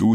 du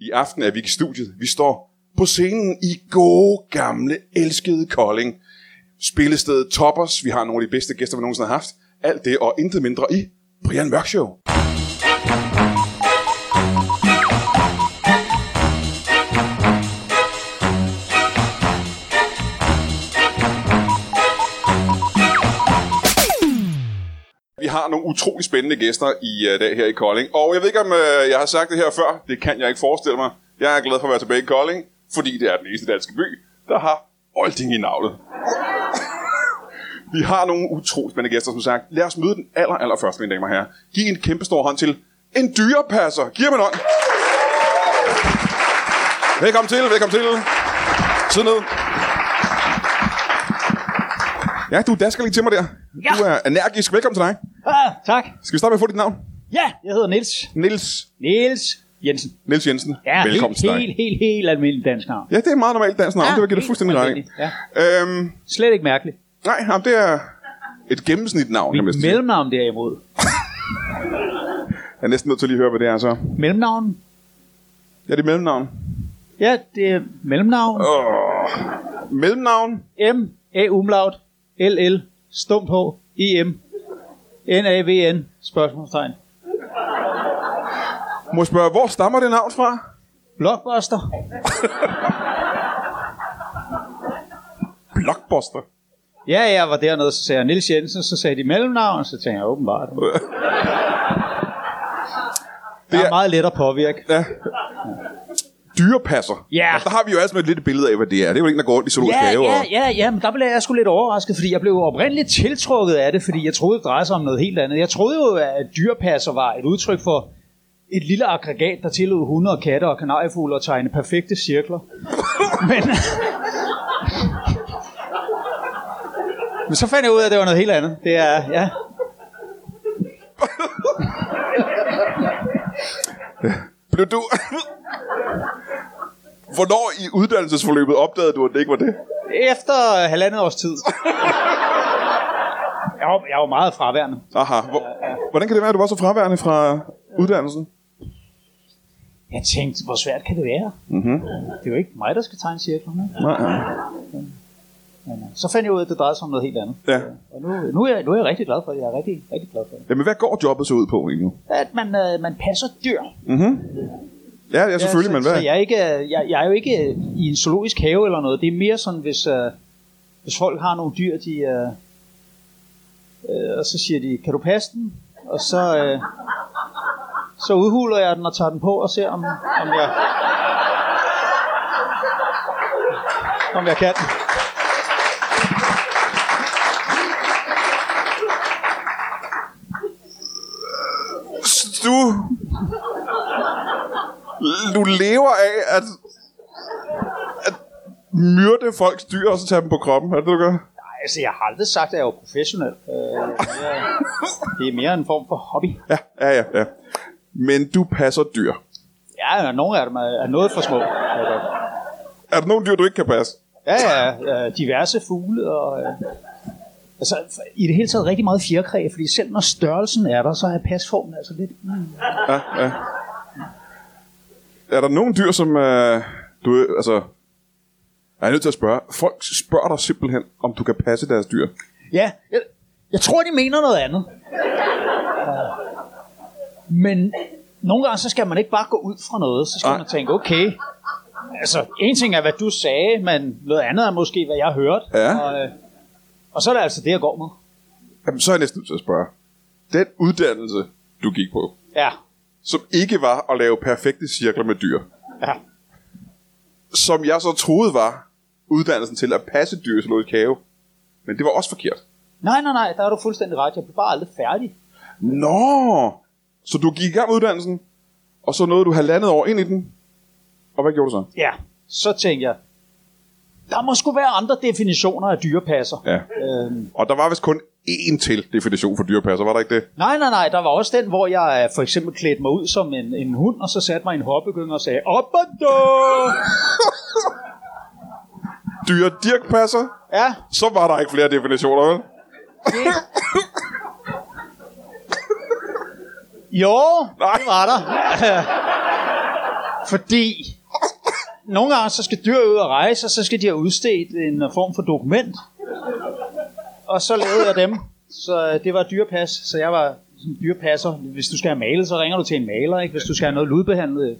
I aften er vi ikke i studiet. Vi står på scenen i gode, gamle, elskede Kolding. Spillestedet Toppers. Vi har nogle af de bedste gæster, vi nogensinde har haft. Alt det og intet mindre i Brian Mørk Show. Vi har nogle utrolig spændende gæster i øh, dag her i Kolding. Og jeg ved ikke, om øh, jeg har sagt det her før. Det kan jeg ikke forestille mig. Jeg er glad for at være tilbage i Kolding, fordi det er den eneste danske by, der har olding i navlet. Vi har nogle utrolig spændende gæster, som sagt. Lad os møde den aller, aller første, mine damer og herrer. Giv en kæmpe stor hånd til en dyrepasser. Giv ham en hånd. Velkommen til, velkommen til. Sid ned. Ja, du dasker lige til mig der. Ja. Du er energisk. Velkommen til dig. Ah, tak. Skal vi starte med at få dit navn? Ja, jeg hedder Nils. Niels. Niels Jensen. Niels Jensen. Ja, Velkommen helt, til dig. helt, helt, helt almindelig dansk navn. Ja, det er et meget normalt dansk navn. Ja, det vil jeg give dig helt fuldstændig ret i. almindelig, ja. Øhm, Slet ikke mærkeligt. nej, jamen, det er et gennemsnit navn, kan man Mit næsten sige. mellemnavn derimod. Jeg er næsten nødt til at lige høre, hvad det er så. Mellemnavn? Ja, det er mellemnavn. Ja, det er mellemnavn. Åh. Mellemnavn? M, A, umlaut, L, L, stumt H, E, M, N, A, V, N, spørgsmålstegn. Må jeg spørge, hvor stammer det navn fra? Blockbuster. Blockbuster. Ja, jeg var dernede, så sagde jeg Nils Jensen, så sagde de mellemnavn, så tænkte jeg åbenbart. Det Det er- er meget let at påvirke. Ja. Dyrepasser. Ja. Og der har vi jo altså et lille billede af, hvad det er. Det er jo ikke, der går rundt i zoologisk Ja, have. ja, og- ja, ja, men der blev jeg sgu lidt overrasket, fordi jeg blev oprindeligt tiltrukket af det, fordi jeg troede, det drejede sig om noget helt andet. Jeg troede jo, at dyrepasser var et udtryk for et lille aggregat, der tillod hunde og katte og kanariefugle at tegne perfekte cirkler. men, men så fandt jeg ud af, at det var noget helt andet. Det er, ja. Blev du... Hvornår i uddannelsesforløbet opdagede du, at det ikke var det? Efter halvandet års tid. Jeg var, jeg var meget fraværende. Aha. Hvor, hvordan kan det være, at du var så fraværende fra uddannelsen? Jeg tænkte, hvor svært kan det være? Mm-hmm. Det er jo ikke mig, der skal tegne cirklerne. Nej, nej. Men, øh, så fandt jeg ud af, at det drejede sig om noget helt andet. Ja. Og nu, nu, er, jeg, nu er jeg rigtig glad for det. Jeg er rigtig, rigtig glad for det. Jamen, hvad går jobbet så ud på lige nu? At man, øh, man passer dyr. Ja, ja selvfølgelig, så, men hvad? Så jeg, er ikke, øh, jeg, jeg er jo ikke øh, i en zoologisk have eller noget. Det er mere sådan, hvis, øh, hvis folk har nogle dyr, de, øh, øh, og så siger de, kan du passe den? Og så, øh, så udhuler jeg den og tager den på og ser, om, om jeg... Om jeg kan. Du... Du lever af at... at myrde folks dyr og så tage dem på kroppen. Er det det, du gør? Altså, jeg har aldrig sagt, at jeg er professionel. Øh, jeg, det er mere en form for hobby. Ja, ja, ja. ja. Men du passer dyr. Ja, og nogle af dem er, er noget for små. Er der nogen dyr, du ikke kan passe? Ja, ja, øh, diverse fugle og... Øh, altså, i det hele taget rigtig meget fjerkræ, fordi selv når størrelsen er der, så er pasformen altså lidt... Mm. Er der nogen dyr, som... Øh, du, øh, altså... Jeg er nødt til at spørge. Folk spørger dig simpelthen, om du kan passe deres dyr. Ja, jeg, jeg tror, de mener noget andet. Øh, Men nogle gange, så skal man ikke bare gå ud fra noget. Så skal Nej. man tænke, okay... Altså, en ting er, hvad du sagde, men noget andet er måske, hvad jeg hørte. Ja. Og, øh, og så er det altså det, jeg går med. Jamen, så er jeg næsten nødt til at spørge. Den uddannelse, du gik på, Ja. som ikke var at lave perfekte cirkler med dyr, ja. som jeg så troede var uddannelsen til at passe dyr i zoologisk have, men det var også forkert. Nej, nej, nej, der har du fuldstændig ret. Jeg blev bare aldrig færdig. Nå! Så du gik i gang med uddannelsen, og så nåede du halvandet år ind i den, Og hvad gjorde du så? Ja, så tænkte jeg, der må sgu være andre definitioner af dyrepasser. Ja. Øhm, Og der var vist kun én til definition for dyrepasser, var der ikke det? nej, nej, nej, der var også den, hvor jeg øh, for eksempel klædte mig ud som en, en hund, og så satte mig i en hoppegynge og sagde, op og dø! Dyre dirkpasser? Ja, Så var der ikke flere definitioner, vel? Jo, Nej. Nej. det var der. Fordi nogle gange så skal dyr ud og rejse, og så skal de have udstedt en form for dokument. Og så lavede jeg dem. Så øh, det var dyrepas, så jeg var sådan en dyrepasser. Hvis du skal have malet, så ringer du til en maler, ikke? Hvis du skal have noget ludbehandlet.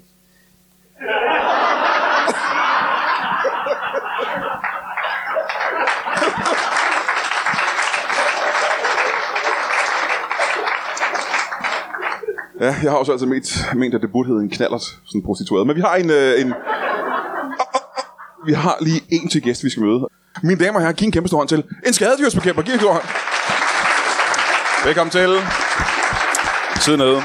Ja, jeg har også altid ment, ment at det burde hedde en knallert, sådan en prostitueret. Men vi har en... Øh, en... Vi har lige en til gæst, vi skal møde. Mine damer og herrer, giv en kæmpe stor hånd til en skadedyrsbekæmper. Giv en stor hånd. Velkommen til. Sid nede.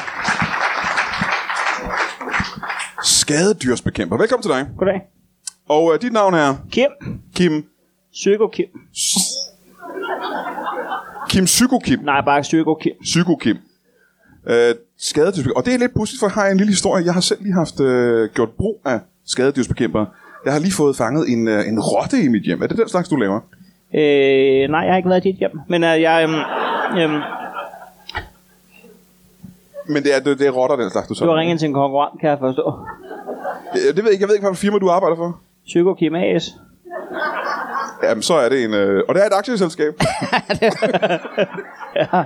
Skadedyrsbekæmper. Velkommen til dig. Goddag. Og øh, dit navn er Kim. Kim... Psyko Kim. Kim Psyko Kim. Nej, bare Psyko Kim. Psyko Kim. Øh, skadedyrsbekæmper. Og det er lidt pudsigt, for her er en lille historie. Jeg har selv lige haft øh, gjort brug af skadedyrsbekæmpere. Jeg har lige fået fanget en, øh, en rotte i mit hjem. Er det den slags, du laver? Øh, nej, jeg har ikke været i dit hjem. Men øh, jeg... Øhm, øhm, Men det er, det, det er rotter, den slags, du så. du har ringet til en konkurrent, kan jeg forstå. Øh, Det ved jeg ikke. Jeg ved ikke, hvilken firma du arbejder for. Psyko Kim AS. Jamen, så er det en... Øh, og det er et aktieselskab. Ja,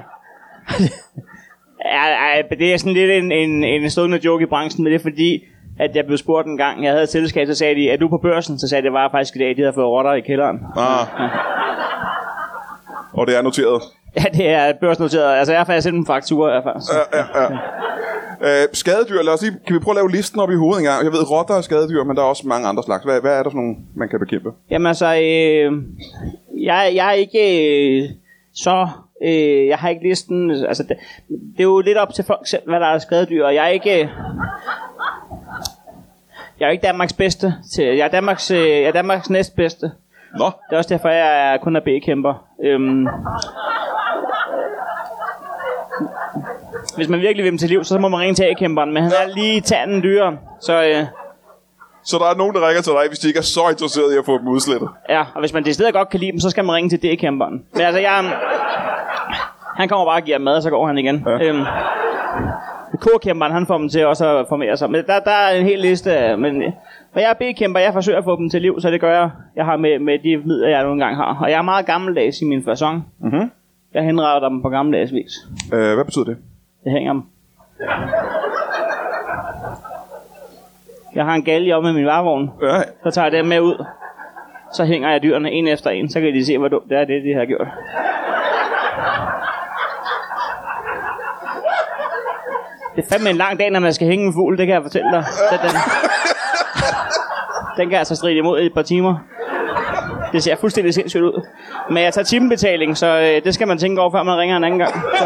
ej, men det er sådan lidt en, en, en stående joke i branchen, men det er fordi, at jeg blev spurgt en gang, jeg havde et selskab, så sagde de, er du på børsen? Så sagde jeg, det var jeg faktisk i dag, de havde fået rotter i kælderen. ah. Og det er noteret. Ja, det er børsnoteret. Altså, jeg har faktisk sendt en faktura, i hvert fald. Så, Øh, skadedyr, lad os lige... Kan vi prøve at lave listen op i hovedet engang? Jeg ved, rotter er skadedyr, men der er også mange andre slags. Hvad, hvad er der for nogle, man kan bekæmpe? Jamen altså, øh, jeg, jeg er ikke øh, så... Øh, jeg har ikke listen... Altså, det, det er jo lidt op til folk selv, hvad der er skadedyr, og jeg er ikke... Øh, jeg er jo ikke Danmarks bedste. Til, jeg, er Danmarks, øh, jeg er Danmarks næstbedste. Nå, Det er også derfor, jeg er kun er B-kæmper. Øhm, hvis man virkelig vil dem til liv, så må man ringe til A-kæmperen, men han er lige tanden dyrere. Så øh, Så der er nogen, der ringer til dig, hvis de ikke er så interesserede i at få dem udslettet. Ja, og hvis man det stedet godt kan lide dem, så skal man ringe til D-kæmperen. Men altså, jeg... Han kommer bare og giver dem mad, og så går han igen. Ja. Øhm, K-kæmperen, han får dem til også at formere sig. Men der, der er en hel liste af... Men, men jeg er B-kæmper, jeg forsøger at få dem til liv, så det gør jeg. Jeg har med, med de midler, jeg nogle gange har. Og jeg er meget gammeldags i min fasong. Mm-hmm. Jeg henretter dem på gammeldags vis. Øh, hvad betyder det? Jeg hænger dem. Jeg har en galge op med min varevogn. Ja, Så tager jeg dem med ud. Så hænger jeg dyrene en efter en, så kan de se, hvor dumt det er, det de har gjort. Det er fandme en lang dag, når man skal hænge en fugl, det kan jeg fortælle dig. Så den, den kan altså stride imod i et par timer. Det ser fuldstændig sindssygt ud. Men jeg tager timebetaling, så øh, det skal man tænke over, før man ringer en anden gang. Så.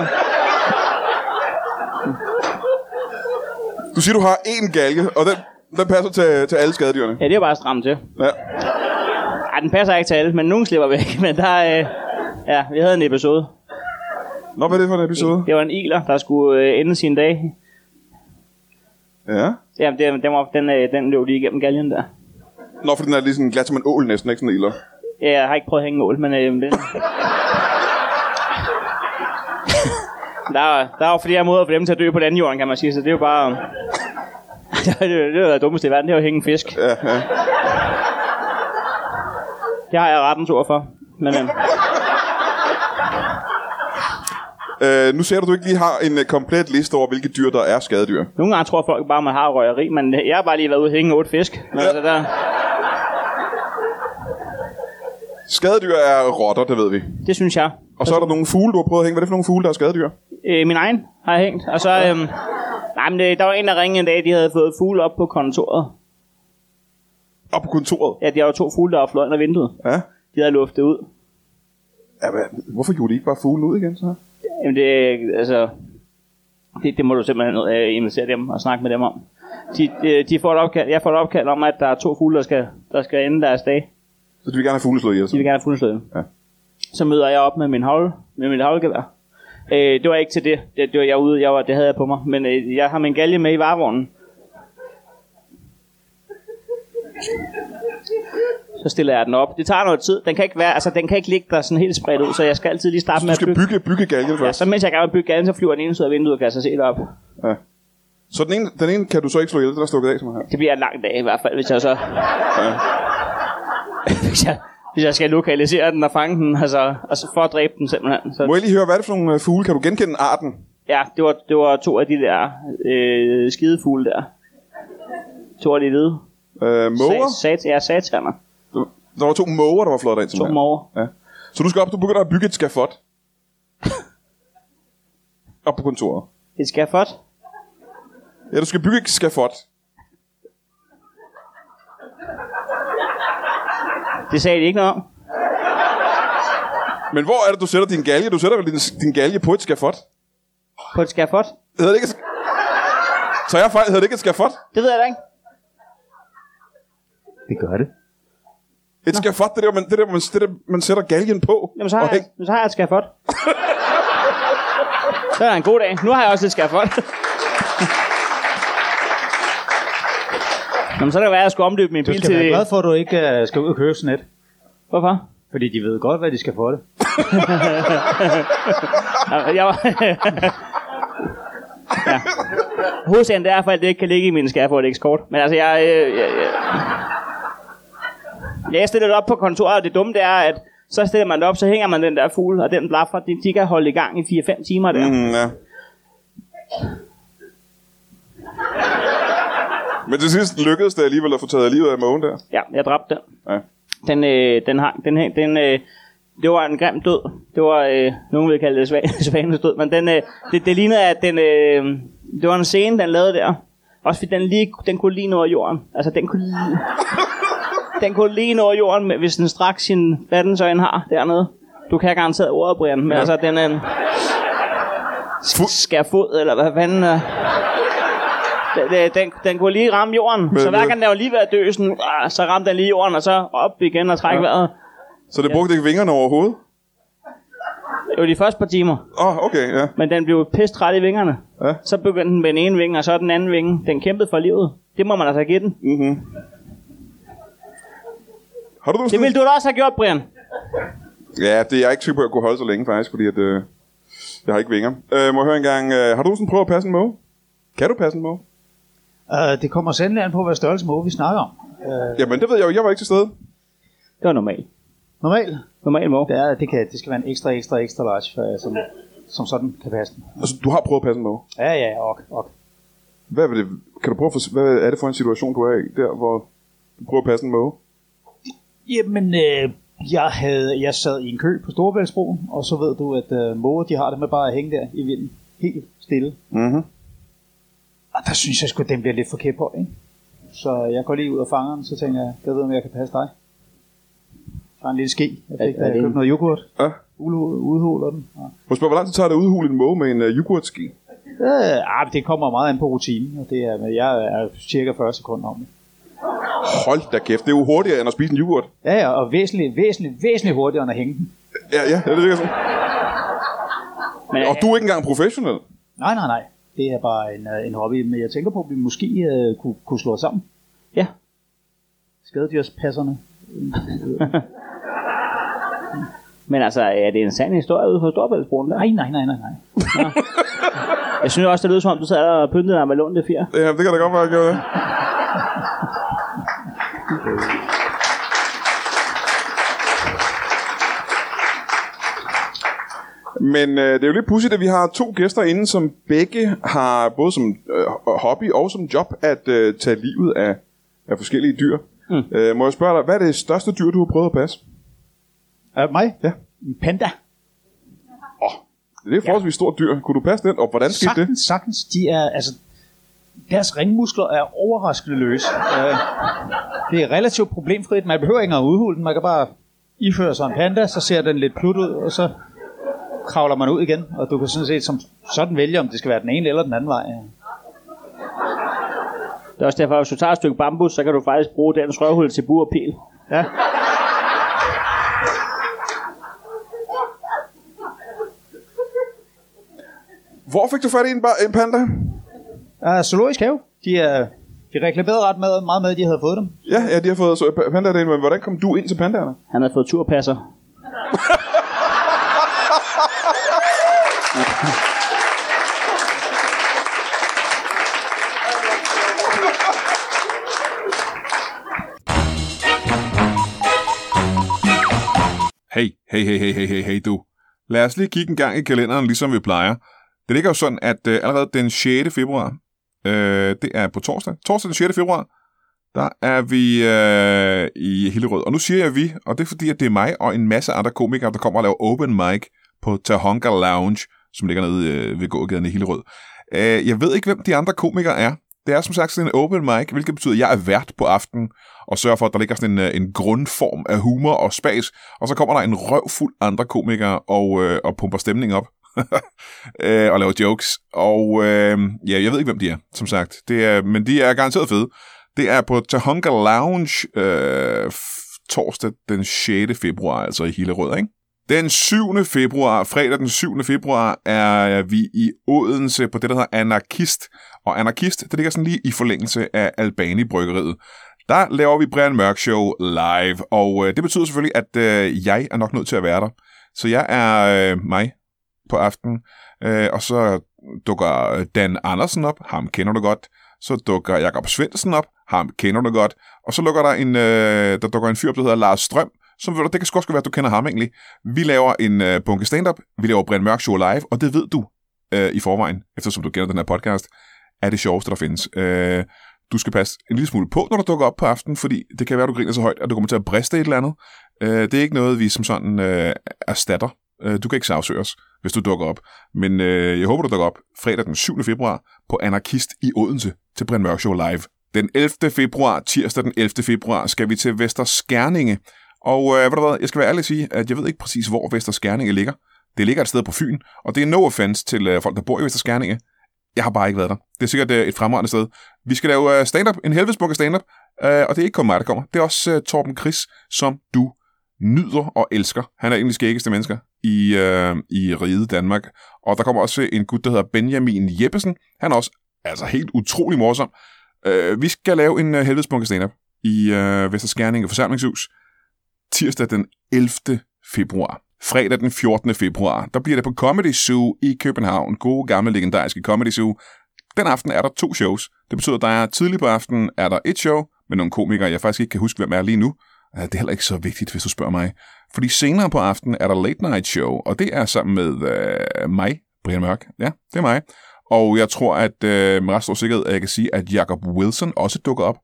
du siger, du har én galge, og den, den passer til, til alle skadedyrene. Ja, det er jo bare stramt til. Ja. Ej, den passer ikke til alle, men nogen slipper væk. Men der, øh, ja, vi havde en episode. Nå, hvad er det for en episode? Det var en iler, der skulle øh, ende sin dag Ja. Ja, det, den, var, den, øh, den løb lige igennem galgen der. Nå, for den er lige sådan glat som en ål næsten, ikke sådan en iler. Ja, jeg har ikke prøvet at hænge en ål, men øh, den... der, der er jo flere måder for dem til at dø på den jorden, kan man sige, så det er jo bare... det er jo- det er jo det dummeste i verden, det er jo at hænge en fisk. Ja, ja. Det har jeg retten ord for. Men øh, Øh, nu ser du, du ikke lige har en øh, komplet liste over, hvilke dyr, der er skadedyr. nogle gange tror folk bare, man har røgeri, men øh, jeg har bare lige været ude og hænge otte fisk. Men, altså, der, Skadedyr er rotter, det ved vi. det synes jeg. Og så er der nogle fugle, du har prøvet at hænge. Hvad er det for nogle fugle, der er skadedyr? Øh, min egen har jeg hængt, og så... Øh, nej, men det, der var en, der ringede en dag, de havde fået fugle op på kontoret. Op på kontoret. Ja, de har jo to fugle, der var fløjet under vinduet. Ja. De havde luftet ud. ja men, hvorfor gjorde de ikke bare fuglen ud igen, så? Jamen det, altså, det, det må du simpelthen øh, investere dem og snakke med dem om. de, øh, de får et opkald, jeg får et opkald om, at der er to fugle, der skal, der skal ende deres dag. Så de vil gerne have fugle slået ihjel. De vil gerne have fuglesløden. Ja. Så møder jeg op med min havl, med mit havlgevær. Øh, det var ikke til det. Det, det var jeg ude, jeg var, det havde jeg på mig. Men øh, jeg har min galge med i varevognen. Så stiller jeg den op. Det tager noget tid. Den kan ikke, være, altså, den kan ikke ligge der sådan helt spredt ud, så jeg skal altid lige starte Så med du at skal bygge. bygge, bygge galgen Ja, først. så mens jeg er i gang med at bygge galgen, så flyver den ene ud af vinduet og kan jeg så se det op. Så den ene, den ene kan du så ikke slå ihjel, den er stukket af, som her. Det bliver en lang dag i hvert fald, hvis jeg så... hvis, jeg, hvis jeg skal lokalisere den og fange den, altså, og så for at dræbe den simpelthen. Så... Må jeg lige høre, hvad er det for nogle øh, fugle? Kan du genkende arten? Ja, det var, det var to af de der øh, skidefugle der. To af de hvide. Øh, måger? Sat, sat, ja, sataner. Der var to måger, der var flået ind, som To her. dem over. Ja. Så du skal op, du begynder at bygge et skafot. op på kontoret. Et skafot. Ja, du skal bygge et skafot. Det sagde de ikke noget om. Men hvor er det, du sætter din galge? Du sætter vel din, din galge på et skafot? På et skafot. Hedder det ikke et... sk- Så jeg fejl, hedder det ikke et skafot? Det ved jeg da ikke. Det gør det. Et skafot, det er der, man, det er der, man, det er der, man sætter galgen på. Jamen, så har, Og jeg, hæng- så har jeg et skafot. så er det en god dag. Nu har jeg også et skafot. Nå, men så kan det være, at jeg skulle omdøbe min Du bil skal til... være glad for, at du ikke uh, skal ud og købe sådan et. Hvorfor? Fordi de ved godt, hvad de skal få det. Jeg var... ja. Hovedsagen det er for, at det ikke kan ligge i min skærford eksport. Men altså, jeg... Øh, jeg, jeg... Ja, jeg stiller det op på kontoret, og det dumme det er, at så stiller man det op, så hænger man den der fugl, og den blaffer, de, de kan holde i gang i 4-5 timer der. Mm. Mm, ja. Men til sidst lykkedes det alligevel at få taget livet af mågen der. Ja, jeg dræbte den. Ja. Den, øh, den hang, den, hæng- den øh, det var en grim død. Det var, øh, nogen vil kalde det svan- svanens død, men den, øh, det, det lignede, at den, øh, det var en scene, den lavede der. Også fordi den, lige, den kunne lige nå jorden. Altså, den kunne lige, den kunne lige nå jorden, men hvis den straks sin verdensøjne har dernede. Du kan garanteret ordet, Brian, men ja. altså, den er en skærfod, eller hvad fanden er. Den- Den, den, den kunne lige ramme jorden. Men, så hver gang den var lige ved at dø, sådan, ah, så ramte den lige jorden, og så op igen og trække ja. vejret. Så det brugte ikke vingerne overhovedet? Det var de første par timer, Åh, oh, okay, ja. men den blev pist ret i vingerne. Ja. Så begyndte den med den ene vinge, og så den anden vinge. Den kæmpede for livet. Det må man altså give den. Mm-hmm. Har du Det ville du da også have gjort, Brian. Ja, det er jeg ikke sikker på, at jeg kunne holde så længe faktisk, fordi at, øh, jeg har ikke vinger. Øh, må jeg høre engang, øh, har du sådan prøvet at passe en måge? Kan du passe en måge? Uh, det kommer sandelig an på, hvad størrelse måge vi snakker om. Uh, Jamen, det ved jeg jo. Jeg var ikke til stede. Det var normalt. normalt, Normal må. det, er, det, kan, det skal være en ekstra, ekstra, ekstra large, for, uh, som, som sådan kan passe den. Altså, du har prøvet at passe en måge. Ja, ja, ok, ok. Hvad, vil det, kan du prøve at for, hvad er det for en situation, du er i, der hvor du prøver at passe en måge? Jamen, øh, jeg, havde, jeg sad i en kø på Storebæltsbroen, og så ved du, at øh, måger, de har det med bare at hænge der i vinden, helt stille. Mhm. Og der synes jeg sgu, at den bliver lidt for kæphøj, ikke? Så jeg går lige ud af fangeren, så tænker jeg, jeg ved, om jeg kan passe dig. Der er en lille ske. Jeg fik, Er- er er, det en- købte noget yoghurt. Ja. Ulo- Udhuler den. Ja. Må jeg spørge, hvor lang tid tager det at udhule en måge med en uh, yoghurtski? Øh, ah, men det kommer meget an på rutinen, og det er, men jeg er cirka 40 sekunder om det. Hold da kæft, det er jo hurtigere end at spise en yoghurt. Ja, ja, og væsentligt, væsentligt, væsentligt hurtigere end at hænge den. Ja, ja, det virker sådan. Men, Og du er ikke engang professionel. Nej, nej, nej. Det er bare en, øh, en hobby, men jeg tænker på, at vi måske øh, kunne, kunne slå os sammen. Ja. Skadedyrspasserne. Men altså, er det en sand historie ude fra Storbæltsbroen der? Nej, nej, nej, nej, nej. Jeg synes også, det lyder som om, du sad og pyntede dig med lån det fire. Ja, det kan da godt være, at jeg gjorde det. Men øh, det er jo lidt pudsigt, at vi har to gæster inde, som begge har både som øh, hobby og som job at øh, tage livet af, af forskellige dyr. Mm. Øh, må jeg spørge dig, hvad er det største dyr, du har prøvet at passe? Øh, mig? Ja. En panda. Det er et forholdsvis stort dyr. Kunne du passe den, og hvordan skete det? Sagtens, sagtens. De er, altså, deres ringmuskler er overraskende løse. Øh, det er relativt problemfrit. Man behøver ikke engang at udhule den. Man kan bare iføre sig en panda, så ser den lidt plut ud, og så kravler man ud igen. Og du kan sådan set som sådan vælge, om det skal være den ene eller den anden vej. Der er også derfor, at hvis du tager et stykke bambus, så kan du faktisk bruge den røvhul til bur og pil. Ja. Hvor fik du fat i en, ba- en panda? Uh, zoologisk have. De, uh, de reklamerede ret med, meget med, at de havde fået dem. Ja, ja, de har fået så, pandaer ind, men hvordan kom du ind til pandaerne? Han havde fået turpasser. Hey, hey, hey, hey, hey, hey, hey, du. Lad os lige kigge en gang i kalenderen, ligesom vi plejer. Det ligger jo sådan, at øh, allerede den 6. februar, øh, det er på torsdag, torsdag den 6. februar, der er vi øh, i Hillerød. Og nu siger jeg vi, og det er fordi, at det er mig og en masse andre komikere, der kommer og laver open mic på Tahonka Lounge, som ligger nede øh, ved gågaden i Hillerød. Øh, jeg ved ikke, hvem de andre komikere er. Det er som sagt sådan en open mic, hvilket betyder, at jeg er vært på aftenen og sørger for, at der ligger sådan en, øh, en grundform af humor og spas, og så kommer der en røvfuld andre komikere og, øh, og pumper stemningen op øh, og laver jokes. Og øh, ja, jeg ved ikke, hvem de er, som sagt. Det er, men de er garanteret fede. Det er på Tahonka Lounge øh, f- torsdag den 6. februar, altså i Hillerød, ikke? Den 7. februar, fredag den 7. februar, er vi i Odense på det, der hedder Anarkist. Og Anarkist, det ligger sådan lige i forlængelse af Albani-bryggeriet. Der laver vi Brian Mørk Show live, og øh, det betyder selvfølgelig, at øh, jeg er nok nødt til at være der. Så jeg er øh, mig på aftenen, øh, og så dukker øh, Dan Andersen op, ham kender du godt. Så dukker Jakob Svendsen op, ham kender du godt. Og så lukker der en, øh, der dukker en fyr op, der hedder Lars Strøm, som ved du, det kan sgu også være, at du kender ham egentlig. Vi laver en øh, bunke stand-up, vi laver Brian Mørk Show live, og det ved du øh, i forvejen, eftersom du kender den her podcast, er det sjoveste, der findes. Øh, du skal passe en lille smule på, når du dukker op på aftenen, fordi det kan være, at du griner så højt, at du kommer til at briste et eller andet. Øh, det er ikke noget, vi som sådan øh, erstatter. Øh, du kan ikke sagsøge os, hvis du dukker op. Men øh, jeg håber, du dukker op fredag den 7. februar på Anarkist i Odense til Brian Mørk Show Live. Den 11. februar, tirsdag den 11. februar, skal vi til Vester Skærninge. Og øh, ved du hvad, jeg skal være ærlig og sige, at jeg ved ikke præcis, hvor Vester Skærninge ligger. Det ligger et sted på Fyn, og det er no offense til øh, folk, der bor i Vester Skærninge. Jeg har bare ikke været der. Det er sikkert øh, et fremragende sted. Vi skal lave øh, stand-up, en helvedesbuk af stand-up, øh, og det er ikke kun mig, der kommer. Det er også øh, Torben Chris, som du nyder og elsker. Han er en af de skæggeste mennesker i, øh, i rige Danmark. Og der kommer også en gut, der hedder Benjamin Jeppesen. Han er også altså, helt utrolig morsom. Øh, vi skal lave en øh, helvedesbunke stand-up i øh, Vester Skærninge forsamlingshus tirsdag den 11. februar. Fredag den 14. februar, der bliver det på Comedy Zoo i København. Gode, gamle, legendariske Comedy Zoo. Den aften er der to shows. Det betyder, at der er tidlig på aftenen er der et show med nogle komikere, jeg faktisk ikke kan huske, hvem er lige nu. Øh, Det er heller ikke så vigtigt, hvis du spørger mig. Fordi senere på aftenen er der Late Night Show, og det er sammen med øh, mig, Brian Mørk. Ja, det er mig. Og jeg tror, at øh, med ret stor sikkerhed, at jeg kan sige, at Jacob Wilson også dukker op.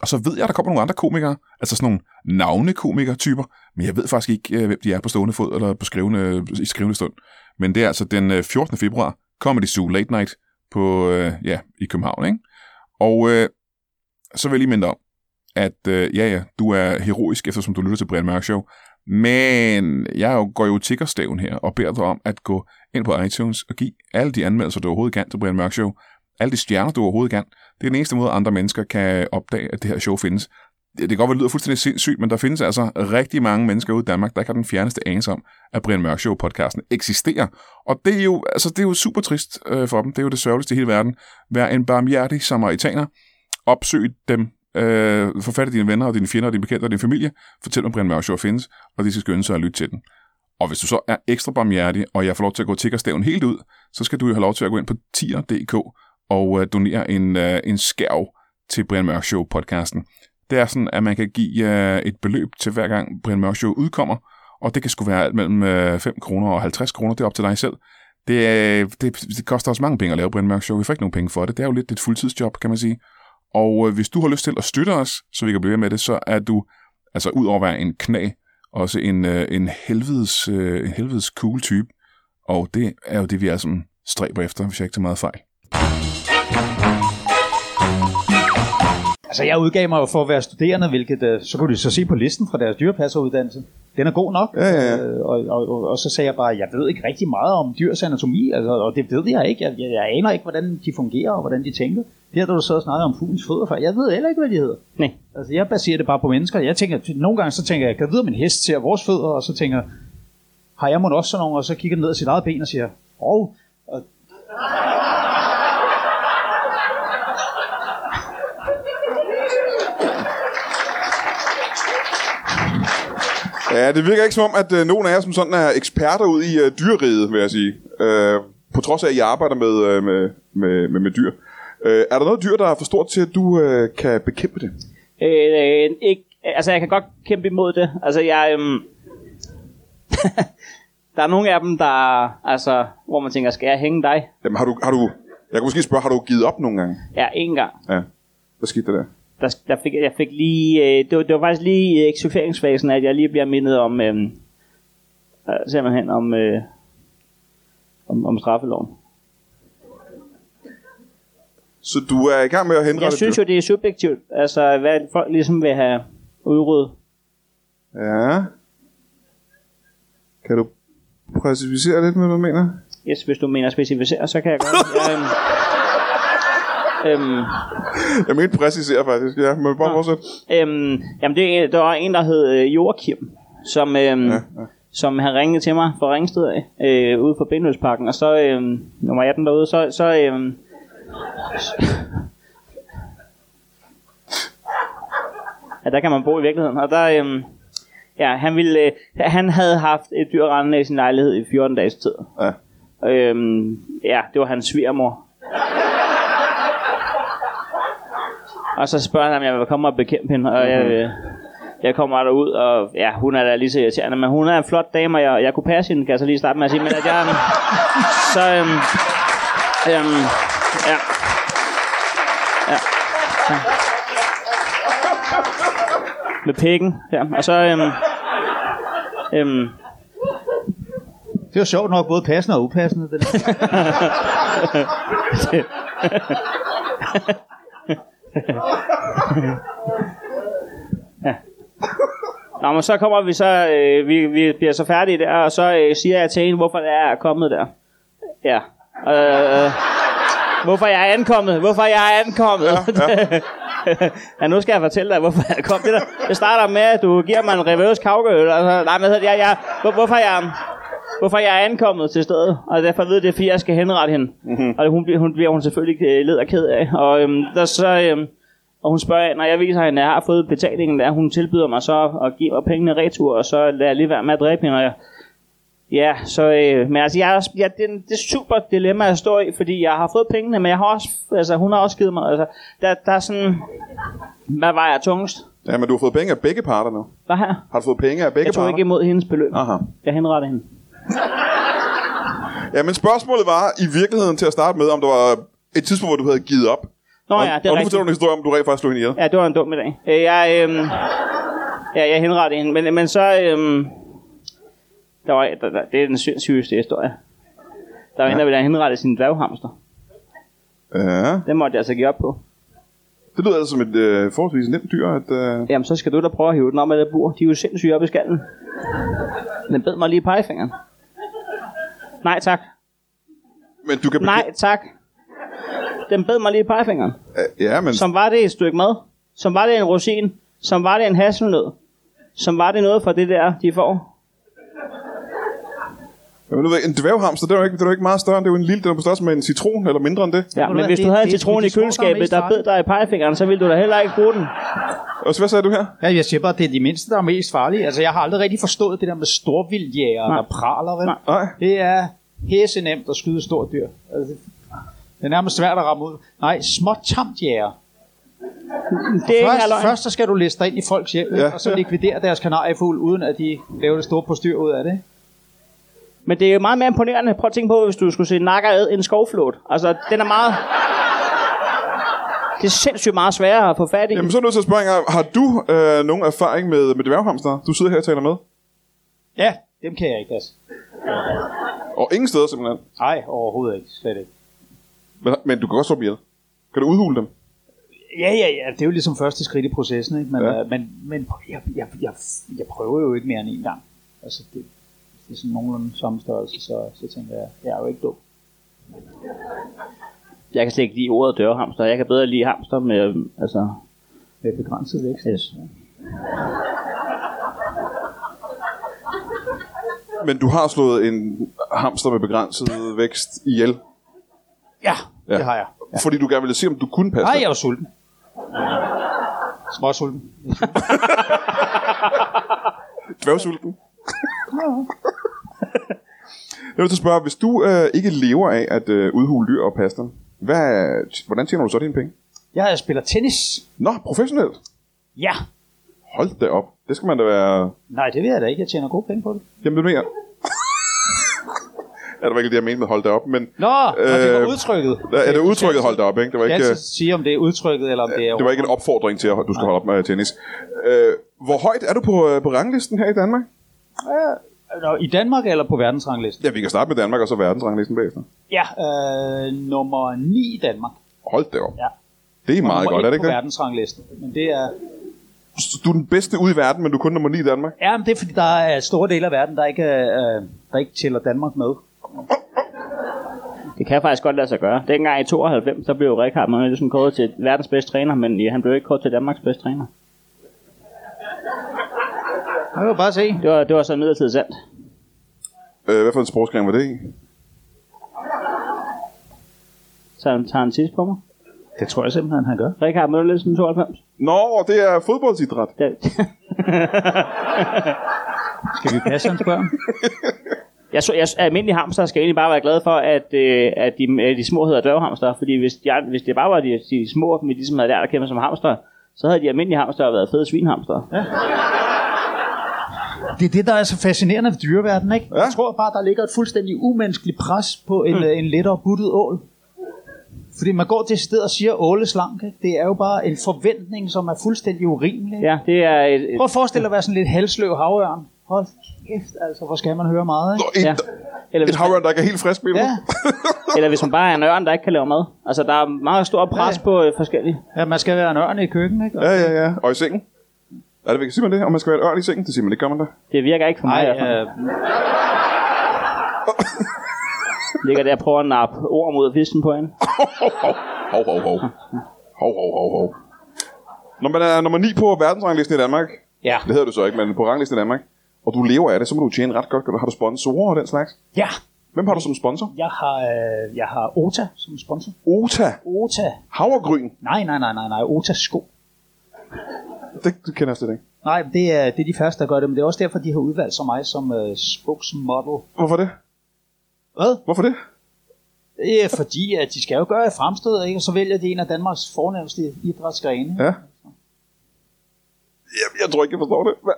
Og så ved jeg, at der kommer nogle andre komikere, altså sådan nogle navnekomikere-typer, men jeg ved faktisk ikke, øh, hvem de er på stående fod eller på skrivende, i skrivende stund. Men det er altså den øh, 14. februar, Comedy Zoo Late Night på, øh, ja, i København, ikke? Og øh, så vil jeg lige minde dig om, at øh, ja, ja, du er heroisk, eftersom du lytter til Brian Mørk Show, men jeg jo- går jo tiggerstaven her og beder dig om at gå ind på iTunes og give alle de anmeldelser, du overhovedet kan til Brian Mørk Show, alle de stjerner, du overhovedet kan. Det er den eneste måde, andre mennesker kan opdage, at det her show findes. Det det kan godt være, det lyder fuldstændig sindssygt, men der findes altså rigtig mange mennesker ude i Danmark, der ikke har den fjerneste anelse om, at Brian Mørk Show-podcasten eksisterer. Og det er jo, altså, det er jo super trist øh, for dem. Det er jo det sørgeligste i hele verden. Vær en barmhjertig samaritaner. Opsøg dem. Øh, få fat i dine venner og dine fjender og dine bekendte og din familie. Fortæl dem, Brian Mørk Show findes, og de skal skynde sig at lytte til den. Og hvis du så er ekstra barmhjertig, og jeg får lov til at gå tiggerstaven helt ud, så skal du jo have lov til at gå ind på tier.dk og øh, donere en, øh, en skærv til Brian Mørk Show podcasten. Det er sådan, at man kan give øh, et beløb til hver gang Brian Mørk Show udkommer, og det kan sgu være alt mellem øh, 5 kroner og 50 kroner, det er op til dig selv. Det, øh, det, det koster også mange penge at lave Brian Mørk Show, vi får ikke nogen penge for det, det er jo lidt et fuldtidsjob, kan man sige. Og øh, hvis du har lyst til at støtte os, så vi kan blive ved med det, så er du, altså ud over at være en knæ, også en, øh, en, helvedes, øh, en helvedes cool type. Og det er jo det, vi er sådan stræber efter, hvis jeg ikke tager meget fejl. Altså, jeg udgav mig jo for at være studerende, hvilket øh, så kunne de så se på listen fra deres dyrepasseruddannelse. den er god nok. Ja, ja, ja. Øh, og, og, og, og så sagde jeg bare, jeg ved ikke rigtig meget om dyrs anatomi, altså, og det ved jeg ikke. Jeg, jeg, jeg aner ikke, hvordan de fungerer og hvordan de tænker. Det har du så snakket om fuglens fødder før. Jeg ved heller ikke, hvad de hedder. Nej. Altså, jeg baserer det bare på mennesker. Jeg tænker, nogle gange så tænker jeg, kan jeg vide, om en hest ser vores fødder, og så tænker jeg, har jeg måske også sådan nogle, og så kigger den ned ad sit eget ben og siger, hov, og Ja, det virker ikke som om, at øh, nogen af jer som sådan er eksperter ud i øh, dyreriget, vil jeg sige. Øh, på trods af, at I arbejder med, øh, med, med, med, med dyr. Øh, er der noget dyr, der er for stort til, at du øh, kan bekæmpe det? Øh, øh, ikke, altså, jeg kan godt kæmpe imod det. Altså, jeg... Øhm, der er nogle af dem, der... Altså, hvor man tænker, skal jeg hænge dig? Jamen, har du, har du... Jeg kan måske spørge, har du givet op nogle gange? Ja, en gang. Ja. Hvad skete der der? Der, der fik, jeg fik lige... Øh, det, var, det var faktisk lige i eksekveringsfasen, at jeg lige bliver mindet om... Øh, øh, simpelthen om... Øh, om, om straffeloven. Så du er i gang med at henrette Jeg synes dyr? jo, det er subjektivt. Altså, hvad folk ligesom vil have udryddet. Ja. Kan du præcisere lidt med, hvad du mener? Yes, hvis du mener specificere, så kan jeg godt. Jeg, øhm, øhm, Jeg mener præcisere faktisk, ja. Men bare fortsæt. Øhm, jamen det, der var en, der hed øh, Joachim, som, øhm, ja, ja. som havde ringet til mig fra Ringsted af, øh, ude for Bindløsparken, og så, øhm, nummer 18 derude, så, så, øhm, ja, der kan man bo i virkeligheden, og der, øhm, ja, han, ville, øh, han havde haft et dyr rendende i sin lejlighed i 14 dages tid. Ja. Øhm, ja, det var hans svigermor. Og så spørger han, om jeg vil komme og bekæmpe hende, og jeg, øh, jeg kommer derud, og ja, hun er da lige så irriterende, men hun er en flot dame, og jeg, jeg kunne passe hende, kan jeg så lige starte med at sige, men at jeg... øhm, Så, øhm, øhm, ja. ja. Så. Med pikken, ja, og så... Øhm, øhm, det var sjovt nok både passende og upassende. Den. Nå, men så kommer vi så, øh, vi, vi bliver så færdige der, og så øh, siger jeg til hende, hvorfor jeg er kommet der. Ja. Øh, øh, hvorfor jeg er ankommet, hvorfor jeg er ankommet. Ja, ja. ja nu skal jeg fortælle dig, hvorfor jeg er kommet Det der. Det starter med, at du giver mig en reverse kavkeøl, og så, nej, men jeg, jeg, jeg, hvor, hvorfor jeg hvorfor jeg er ankommet til stedet, og derfor ved det, er, fordi jeg skal henrette hende. Mm-hmm. Og hun, bliver- hun bliver hun selvfølgelig øh, led og ked af. Og øhm, der så, øhm, og hun spørger, når jeg viser hende, at jeg har fået betalingen, der hun tilbyder mig så at give mig pengene retur, og så lader jeg lige være med at dræbe hende. Og jeg, ja, så, øh, men altså, jeg, er også- jeg, det, er en- det er super dilemma at stå i, fordi jeg har fået pengene, men jeg har også, altså, hun har også givet mig, altså, der, der er sådan, hvad var jeg tungest? Ja, men du har fået penge af begge parter nu. Hvad her? Har du fået penge af begge Jeg tog parter? ikke imod hendes beløb. Aha. Jeg henrettede hende. Ja, men spørgsmålet var i virkeligheden til at starte med, om der var et tidspunkt, hvor du havde givet op. Nå og, ja, det og er nu rigtigt. fortæller du en historie om, at du rent faktisk slog hende ihjel. Ja, det var en dum dag. Øh, Jeg, øhm, ja, jeg henrettede hende, men, men så... Øhm, der var, der, der, det er den sy- sygeste historie. Der var ja. en, der ville have henrettet sin dværghamster. Ja. Den måtte jeg altså give op på. Det lyder altså som et øh, forholdsvis nemt dyr, at... Øh... Jamen, så skal du da prøve at hive den om af det bur. De er jo sindssyge oppe i skallen. Den bed mig lige i pegefingeren. Nej tak. Men du kan... bekä- Nej tak. Den bed mig lige i pegefingeren. Ja, men... Som var det et stykke mad. Som var det en rosin. Som var det en hasselnød. Som var det noget fra det der, de får. Jamen, du ved, en dværghamster, det er jo ikke, det er jo ikke meget større. Det er jo en lille, den er på størrelse med en citron, eller mindre end det. Ja, du men hvad, hvis det- du havde en det er sgu citron de i små, der er køleskabet, mest der farlige. bed dig i pegefingeren, så ville du da heller ikke bruge den. Og så, hvad sagde du her? Ja, jeg siger bare, at det er de mindste, der er mest farlige. Altså, jeg har aldrig rigtig forstået det der med storvildjæger, Nej. der praler, vel? Nej. Nej. Det er hæse nemt at skyde stort dyr. Altså, det er nærmest svært at ramme ud. Nej, småt tamt jæger. Det er ikke Først, halvøj. først så skal du liste dig ind i folks hjem, Ja. ja. og så likvidere deres kanariefugl, uden at de laver det store postyr ud af det. Men det er jo meget mere imponerende. Prøv at tænke på, hvis du skulle se nakker ad en skovflåt. Altså, den er meget... Det er sindssygt meget sværere at få fat i. Jamen, så er jeg nødt til at spørge engang, har du øh, nogen erfaring med, med dværghamster? Du sidder her og taler med. Ja, dem kan jeg ikke, altså. Og ingen steder, simpelthen. Nej, overhovedet ikke. Slet ikke. Men, men du kan godt slå dem ihjel. Kan du udhule dem? Ja, ja, ja, det er jo ligesom første skridt i processen, ikke? Men, Ja. ja. øh, men, men jeg, jeg, jeg, jeg prøver jo ikke mere end en gang. Altså, det, det er sådan nogenlunde samme størrelse, så, så tænker jeg, jeg er jo ikke dum. Jeg kan slet ikke lide ordet dørhamster. Jeg kan bedre lide hamster med, øhm, altså... Med begrænset vækst. Yes. Men du har slået en hamster med begrænset vækst ihjel, Ja, Ja. ja, det har jeg. ja. fordi du gerne ville se, om du kunne passe Nej, det. jeg er jo sulten. Småsulten. Dværgsulten. jeg vil så spørge, hvis du øh, ikke lever af at øh, udhule dyr og passe dem, hvad, hvordan tjener du så dine penge? Jeg, jeg spiller tennis. Nå, professionelt. Ja. Hold da op. Det skal man da være... Nej, det vil jeg da ikke. Jeg tjener gode penge på det. Jamen, det mere. er det virkelig det, jeg mente med hold da op? Men Nå, øh, det Øh, var udtrykket. er det udtrykket hold da op, ikke? Det var Jeg ikke, kan øh, altid sige, om det er udtrykket, eller om det er... det var ikke en opfordring til, at du skal holde op med tennis. Øh, hvor højt er du på, øh, på ranglisten her i Danmark? Nå, I Danmark eller på verdensranglisten? Ja, vi kan starte med Danmark, og så verdensranglisten bagefter. Ja, øh, nummer 9 i Danmark. Hold da op. Ja. Det er meget nummer godt, et er det ikke på det? verdensranglisten. Men det er, Så Du er den bedste ude i verden, men du er kun nummer 9 i Danmark. ja, men det er fordi, der er store dele af verden, der ikke, øh, der ikke tæller Danmark med. Det kan jeg faktisk godt lade sig gøre. Dengang i 92, der blev Rikard Møller ligesom kåret til verdens bedste træner, men ja, han blev ikke kåret til Danmarks bedste træner. Det kan jo bare se. Det var, det var så midlertidigt sandt. Øh, hvad for en sportsgren var det i? Så han tager en tids på mig. Det tror jeg simpelthen, han gør. Rikard Møller 92. Nå, det er fodboldsidræt. Det, Skal vi passe hans børn? jeg, så, jeg, almindelige hamster skal egentlig bare være glad for, at, øh, at de, øh, de små hedder dørhamster, fordi hvis, de, hvis det bare var de, de små, vi ligesom havde lært at kæmpe som hamster, så havde de almindelige hamster været fede svinhamster. Ja. Det er det, der er så fascinerende ved dyreverdenen, ikke? Ja. Ja. Jeg tror bare, der ligger et fuldstændig umenneskeligt pres på en, mm. en lettere buttet ål. Fordi man går til stedet og siger, åle slank, ikke? Det er jo bare en forventning, som er fuldstændig urimelig. ikke? ja, det er et, et, Prøv at forestille dig at være sådan lidt halsløv havørn. Hold kæft, altså, hvor skal man høre meget, ikke? Nå, et, ja. Eller, et hvis, havørn, der ikke er helt frisk, mener du? Ja. eller hvis man bare er en ørn, der ikke kan lave mad. Altså, der er meget stor pres Ja. på øh, forskellige. ja, man skal være en ørn i køkkenet, ikke? Ja, ja, ja. Og i sengen? Er det vigtigt, siger man det? Om man skal være et ørn i sengen? Det siger man ikke, gør man det? Det virker ikke for mig. Nej, i hvert fald. øh, ligger der og prøver at nappe orm ud af fisken på hende. Hov, hov, hov. Hov, hov, hov, hov. Når man er nummer 9 på verdensranglisten i Danmark, ja. det hedder du så ikke, men på ranglisten i Danmark, og du lever af det, så må du tjene ret godt. Har du sponsorer og den slags? ja, Hvem har du som sponsor? jeg har, øh, jeg har Ota som sponsor. Ota. Ota. Havregryn. Nej, nej, nej, nej, nej. Ota sko. Det, det kender jeg slet ikke. Nej, det er, det er de første, der gør det, men det er også derfor, de har udvalgt så mig som øh, spokesmodel. Hvorfor det? Hvad? Hvorfor det? Det er fordi, at de skal jo gøre et fremstød, ikke? Og så vælger de en af Danmarks fornemmeste idrætsgrene. Ja. Jeg, jeg tror ikke, jeg forstår det. Hvad,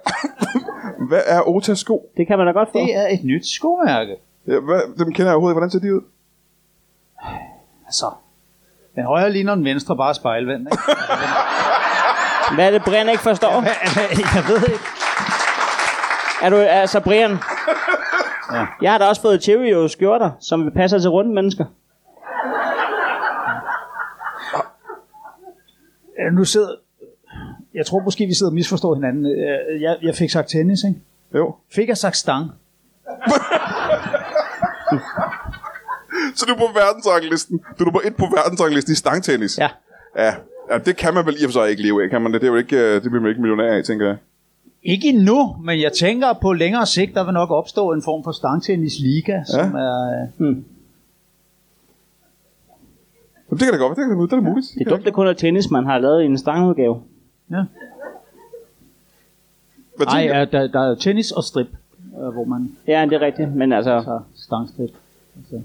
hvad er Otas sko? Det kan man da godt få. Det er et nyt skomærke. Ja, hvad, dem kender jeg overhovedet ikke. Hvordan ser de ud? Altså, den højre ligner den venstre bare spejlvendt, ikke? Hvad er det, Brian ikke forstår? jeg ved ikke. Er du altså, Brian? Ja. Jeg har da også fået Cheerios skjorter, som passer til runde mennesker. Øh, Nu sidder... Jeg tror måske, vi sidder og misforstår hinanden. Øh, Jeg, jeg fik sagt tennis, ikke? Jo. Fik jeg sagt stang? Så du er på verdensranglisten. Du er nummer et på verdensranglisten i stangtennis. Ja. Ja. ja. det kan man vel i og for sig ikke leve af, kan man det? Det, er jo ikke, øh, det bliver man ikke millionær af, tænker jeg. Ikke endnu, men jeg tænker at på længere sigt, der vil nok opstå en form for stangtennisliga, som er... øh, Jamen, det kan da godt være. Det, kan, det er da muligt. Det er dumt, det kun er tennis, man har lavet i en stangudgave. Ja. Hvad Nej, tænker- ja, der, der er tennis og strip, øh, hvor man Ja, det er rigtigt, men altså... tager stangstrip. Altså.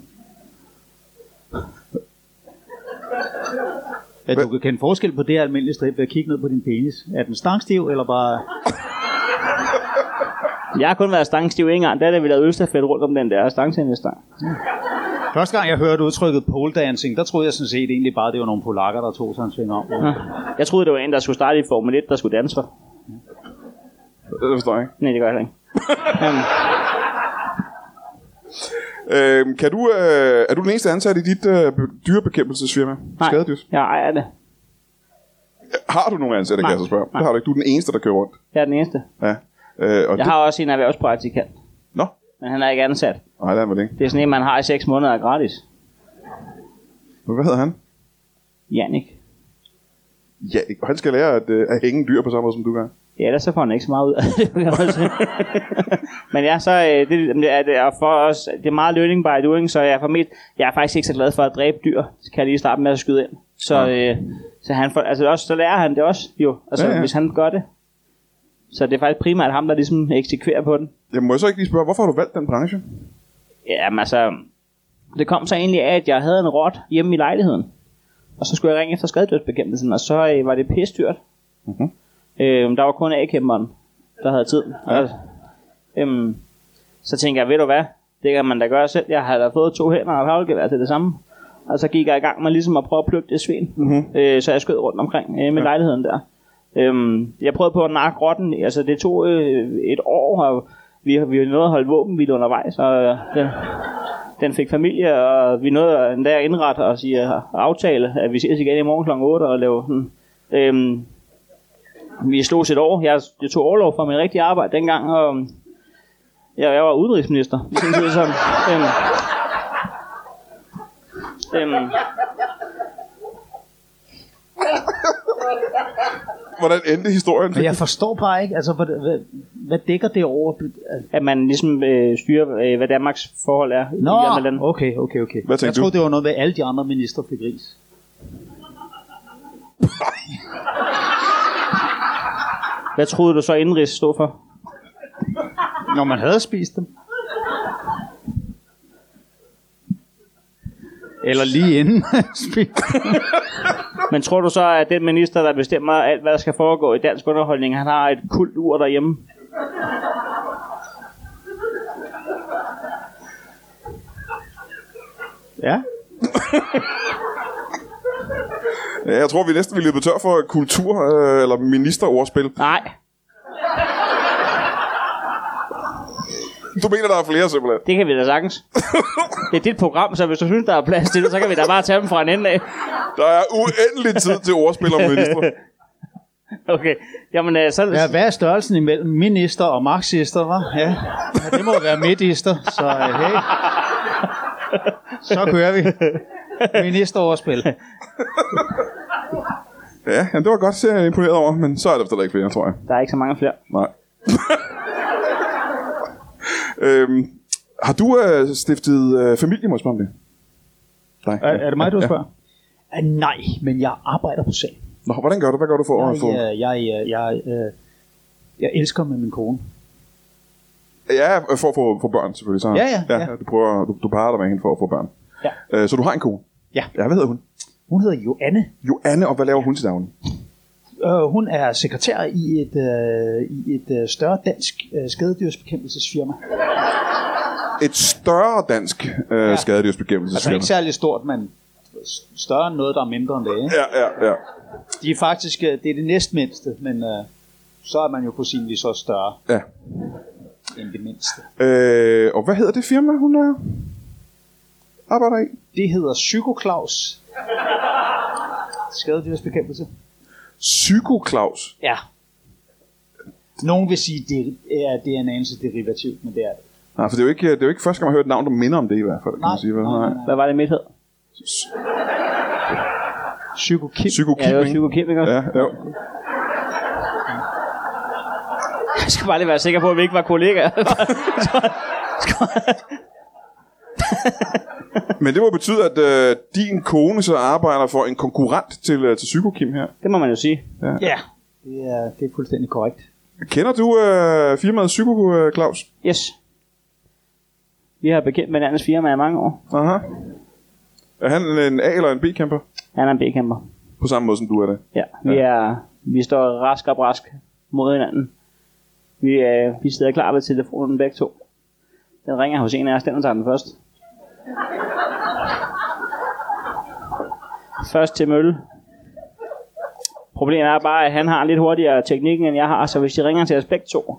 Ja, du kan kende forskel på det her almindelige strip ved at kigge ned på din penis. Er den stangstiv, eller bare... Jeg har kun været stangstiv en gang, der da vi lavede ølstafet rundt om den der stangtennisstang. Første gang jeg hørte udtrykket pole dancing, der troede jeg sådan set egentlig bare, det var nogle polakker, der tog sig en sving om. Ja. Jeg troede, det var en, der skulle starte i Formel 1, der skulle danse for. Det forstår jeg ikke. Nej, det gør jeg heller ikke. Øhm, kan du, øh, er du den eneste ansat i dit øh, be- dyrebekæmpelsesfirma? Nej, Skadedyrs? jeg ejer det. Har du nogen ansatte, kan Nej. jeg så spørge? Nej. Det har du ikke. Du er den eneste, der kører rundt. Jeg er den eneste. Ja. Øh, og Jeg det... har også en erhvervspraktikant, Nå, men han er ikke ansat. nej, det er vel ikke. Det er sådan en, man har i 6 måneder er gratis. Hvad hedder han? Jannik. Ja, ikke- og han skal lære at, øh, at hænge dyr på samme måde, som du gør. Ja, ellers så får han ikke så meget ud af det. kan man sige. Men ja, så øh, det, det er, det er for os, det er meget learning by doing, så jeg er, for mest, jeg er faktisk ikke så glad for at dræbe dyr, så kan jeg lige starte med at skyde ind. Så, øh, så, han får, altså også, så lærer han det også, jo, altså, Ja, ja, ja. ja. hvis han gør det. Så det er faktisk primært ham, der ligesom eksekverer på den. Jeg må jeg så ikke lige spørge, hvorfor har du valgt den branche? Jamen altså, det kom så egentlig af, at jeg havde en rot hjemme i lejligheden. Og så skulle jeg ringe efter skadedødsbekæmpelsen, og så øh, var det pisse dyrt. Mm-hmm. Øh, der var kun A-kæmperen, der havde tid. Ja. Og, øhm, så tænkte jeg, ved du hvad, det kan man da gøre selv. Jeg havde da fået to hænder og et havlgevær til det samme. Og så gik jeg i gang med ligesom at prøve at plukke det svin. Mm-hmm. Øh, så jeg skød rundt omkring øh, med ja. lejligheden der. Øhm, jeg prøvede på at nakke rotten. Altså, det tog øh, et år, og vi, vi har nået at holde våbenvild undervejs. Og øh, den, den fik familie, og vi nåede endda at indrette os i at aftale, at vi ses igen i morgen kl. 8 og lave sådan. Øhm, vi slog et år. Jeg, jeg tog overlov fra mit rigtige arbejde dengang, og øhm, jeg, jeg var udenrigsminister i sin tid. Så, øhm, øhm, Hvordan endte historien? Men jeg forstår bare ikke, altså, hvad, hvad, hvad dækker det over? at man ligesom øh, styrer, øh, hvad Danmarks forhold er i andre lande. Nå, okay, okay, okay. Hvad tænkte jeg troede, du? det var noget med, at alle de andre minister fik ris. Hvad troede du så indrigs stod for? Når man havde spist dem. Eller lige inden spist. Men tror du så, at den minister, der bestemmer alt, hvad der skal foregå i dansk underholdning, han har et kult ur derhjemme? Ja. Ja, jeg tror, vi næsten ville løbe tør for kultur- øh, eller ministerordspil. Nej, Du mener, der er flere simpelthen. det kan vi da sagtens. Det er dit program, så hvis du synes, der er plads til det, så kan vi da bare tage dem fra en ende af. Der er uendelig tid til ordspil om minister. Okay, jamen øh, så... ja. Hvad er størrelsen imellem minister og marxister, hva'? Ja. ja det må være midtister, så øh, hey. Så kører vi. Ministeroverspil. Ja, jamen, det var godt, at jeg er imponeret over, men så er der stadig ikke flere, tror jeg. Der er ikke så mange flere. Nej. øhm, har du øh, stiftet øh, familie, må jeg spørge om det? Nej. Er, er det mig, du Ja. spørger? Ja. Nej, men jeg arbejder på sagen. Nå, hvordan gør du? Hvad gør du for at få... Jeg, øh, jeg, jeg, jeg, jeg, jeg elsker med min kone. Ja, for at få, få børn selvfølgelig. Så. Ja, ja, ja. ja. Du, prøver, du, du parer dig med hende for at få børn. Ja. Øh, så du har en kone? Ja. Ja, hvad hedder hun? Hun hedder Joanne. Joanne, og hvad laver hun til daglig? Øh, hun er sekretær i et, øh, i et øh, større dansk øh, skadedyrsbekæmpelsesfirma. Et større dansk øh, ja. Altså ikke skadedyrsbekæmpelsesfirma. særlig stort, men større end noget, der er mindre end det. Ikke? Ja, ja, ja. De er faktisk, øh, det er det næstmindste, men øh, så er man jo på sin vis også større ja. end det mindste. Øh, og hvad hedder det firma, hun er? arbejder i? Det hedder Psykoklaus. Skadedyrsbekæmpelse. Psyko Claus. Ja. Nogen vil sige, det er, det er en anelse derivativt, men det er det. Nej, for det er, jo ikke, det er jo ikke første gang, man hører et navn, der minder om det i hvert fald. Kan man sige, vel? Hvad var det mit hed? Psykokim. Psyko Ja, det var Kim, ikke? psykokemiker. Ja, ja. Jeg skal bare lige være sikker på, at vi ikke var kollegaer. Men det må betyde, at øh, din kone så arbejder for en konkurrent til, øh, til Psyko Kim her. det må man jo sige. Ja, det er, det er fuldstændig korrekt. Kender du øh, firmaet Psyko øh, Claus? Yes. Vi har bekendt med hinandens firma i mange år. Aha. Er han en A- eller en B-kæmper? Han er en B-kæmper. På samme måde, som du er det. Ja, vi, er, vi står rask og brask mod hinanden. Vi, øh, vi sidder klar ved telefonen begge to. Den ringer hos en af os, den tager den først. Først til Mølle. Problemet er bare, at han har lidt hurtigere teknikken, end jeg har, så hvis de ringer til os begge to,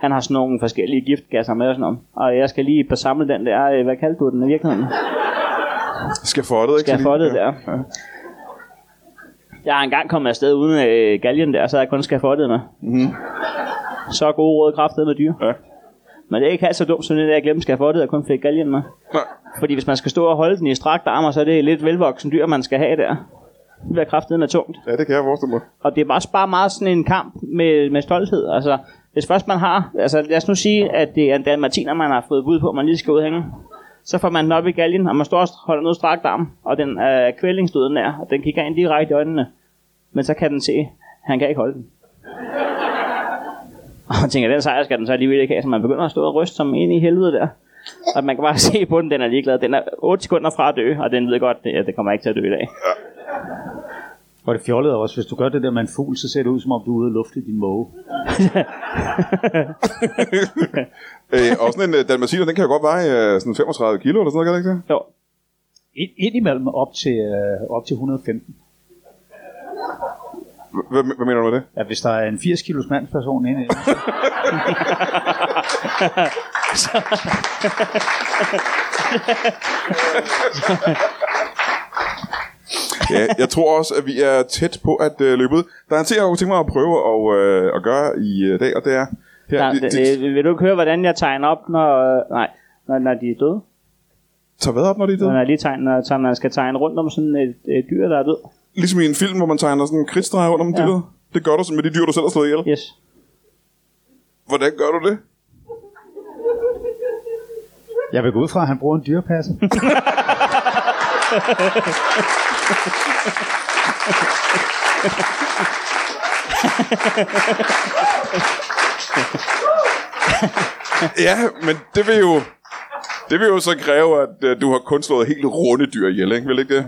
han har sådan nogle forskellige giftgasser med og sådan noget. Og jeg skal lige besamle den der, øh, hvad kaldte du den i virkeligheden? Skal for det, ikke? Skal jeg Så få lige- det der? Ja. Jeg Jeg har engang kommet afsted uden øh, galgen der, så havde jeg kun skafottet mig. Mm-hmm. Så gode råd kraftede med dyr. Ja. Men det er ikke halvt så dumt som det der, jeg glemte skafottet og kun fik galgen med. Nej. Fordi hvis man skal stå og holde den i strakte armer, så er det lidt velvoksen dyr, man skal have der. Det bliver kraftedet med tungt. Ja, det kan jeg forestille mig. Og det er også bare meget sådan en kamp med, med stolthed. Altså, hvis først man har... Altså, lad os nu sige, at det er en dalmatiner, man har fået bud på, man lige skal udhænge. Så får man den op i galgen, og man står og holder noget strakt arm, og den er øh, kvælningsdøden er, og den kigger ind direkte i øjnene. Men så kan den se, han kan ikke holde den. Og man tænker, den sejr skal den så alligevel ikke have, så man begynder at stå og ryste som ind i helvede der. Og man kan bare se på den, den er ligeglad. Den er 8 sekunder fra at dø, og den ved godt, at det kommer ikke til at dø i dag. Og det fjollede er også, hvis du gør det der med en fugl, så ser det ud som om du er ude og lufte din måge. Øh, og sådan en øh, dalmatiner, den kan jo godt veje øh, sådan 35 kilo eller sådan noget, kan det ikke det? Jo, Ind, indimellem op til, øh, op til 115. H- Hvad, hvad mener du med det? Ja, hvis der er en 80 kilos mandsperson inde i den, så- Ja, jeg tror også, at vi er tæt på at øh, løbe ud. Der er en ting, jeg kunne tænke mig at prøve at, øh, at gøre i øh, dag, og det er... Her, Ja, det, det, det, det, vil du ikke høre, hvordan jeg tegner op, når, øh, nej, når, når de er døde? tager hvad op, når det er Når døde? jeg lige tegner, så man skal tegne rundt om sådan et, et dyr, der er død. Ligesom i en film, hvor man tegner sådan en kridtstreg rundt om ja. Ja. dyret. Det gør du så med de dyr, du selv har slået ihjel. Yes. Hvordan gør du det? jeg vil gå ud fra, at han bruger en dyrepasser. Ja, men det vil jo... Det vil jo så kræve, at øh, du har kun slået helt runde dyr ihjel, ikke? Vil ikke det?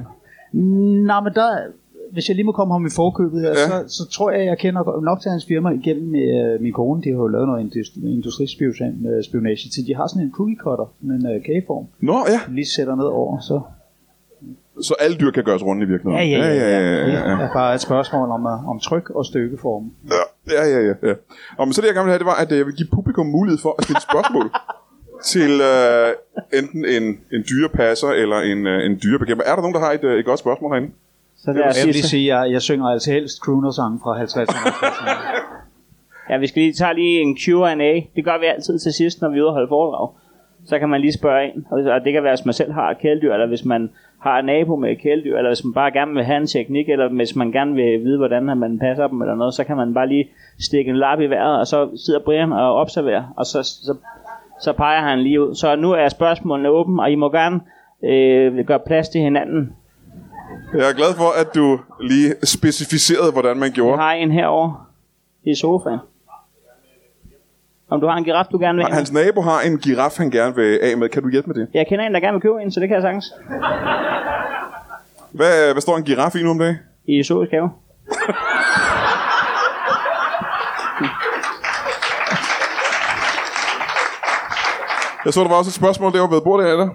Nej, men der, hvis jeg lige må komme ham i forkøbet her, Ja. ja. så, så tror jeg, jeg kender nok til hans firma igennem øh, min kone. De har jo lavet noget industri- industrispionage til. De har sådan en cookie cutter, sådan en øh, kageform, Nå, ja. de lige sætter ned over. Så. Så alle dyr kan gøres runde i virkeligheden. ja, ja, ja, ja. Det er bare et spørgsmål om, øh, om tryk og stykkeformen. Ja, ja, ja. ja, ja. Og men så det, jeg gerne ville have, det var, at øh, jeg ville give publikum mulighed for at stille spørgsmål til øh, enten en, en dyrepasser eller en, øh, en dyrebekæmper. Er der nogen, der har et, øh, et godt spørgsmål herinde? Så lad Jeg os vil lige sige, sige, at jeg, jeg synger altså helst crooner-sange fra 50'erne. ja, vi skal lige tage lige en Q&A. Det gør vi altid til sidst, når vi er ude og holde foredrag. Så kan man lige spørge en. Og og det kan være, hvis man selv har et kæledyr, eller hvis man har en nabo med et kæledyr, eller hvis man bare gerne vil have en teknik, eller hvis man gerne vil vide, hvordan man passer dem eller noget, så kan man bare lige stikke en lap i vejret, og så sidder Brian og observerer, og så, så så peger han lige ud. Så nu er spørgsmålene åbne, og I må gerne øh, gøre plads til hinanden. Jeg er glad for, at du lige specificerede, hvordan man Jeg gjorde. har en herovre i sofaen. Om du har en giraf, du gerne vil have. Hans nabo har en giraf, han gerne vil af med. Kan du hjælpe med det? Jeg kender en, der gerne vil købe en, så det kan jeg sagtens. Hvad, hvad står en giraf i nu om dagen? I zoologisk have. Jeg så, der var også et spørgsmål derovre ved bordet, eller?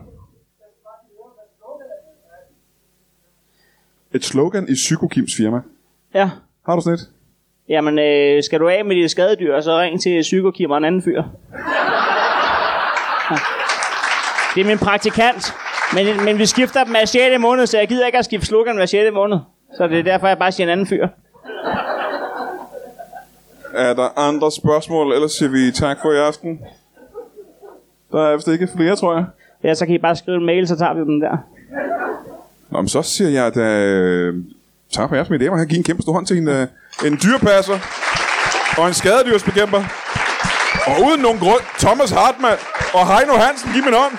Et slogan i Psykokims firma. Ja. Har du sådan et? Jamen, øh, skal du af med dit skadedyr, så ring til psykokim og en anden fyr. Det er min praktikant. Men, men vi skifter dem hver 6. måned, så jeg gider ikke at skifte slogan hver 6. måned. Så det er derfor, jeg bare siger en anden fyr. Er der andre spørgsmål? Ellers siger vi tak for i aften. Der er vist ikke flere, tror jeg. Ja, så kan I bare skrive en mail, så tager vi dem der. Nå, men så siger jeg da... øh, Tak for i aften, mine damer. og herrer. Giv en kæmpe stor hånd til en, øh, en dyrepasser. Og en skadedyrsbekæmper. Og uden nogen grund, Thomas Hartmann og Heino Hansen. Giv mig en hånd.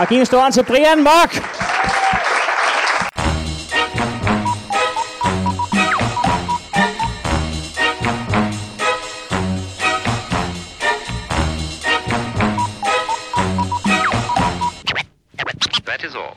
Og giv en stor hånd til Brian Mørk! That is all.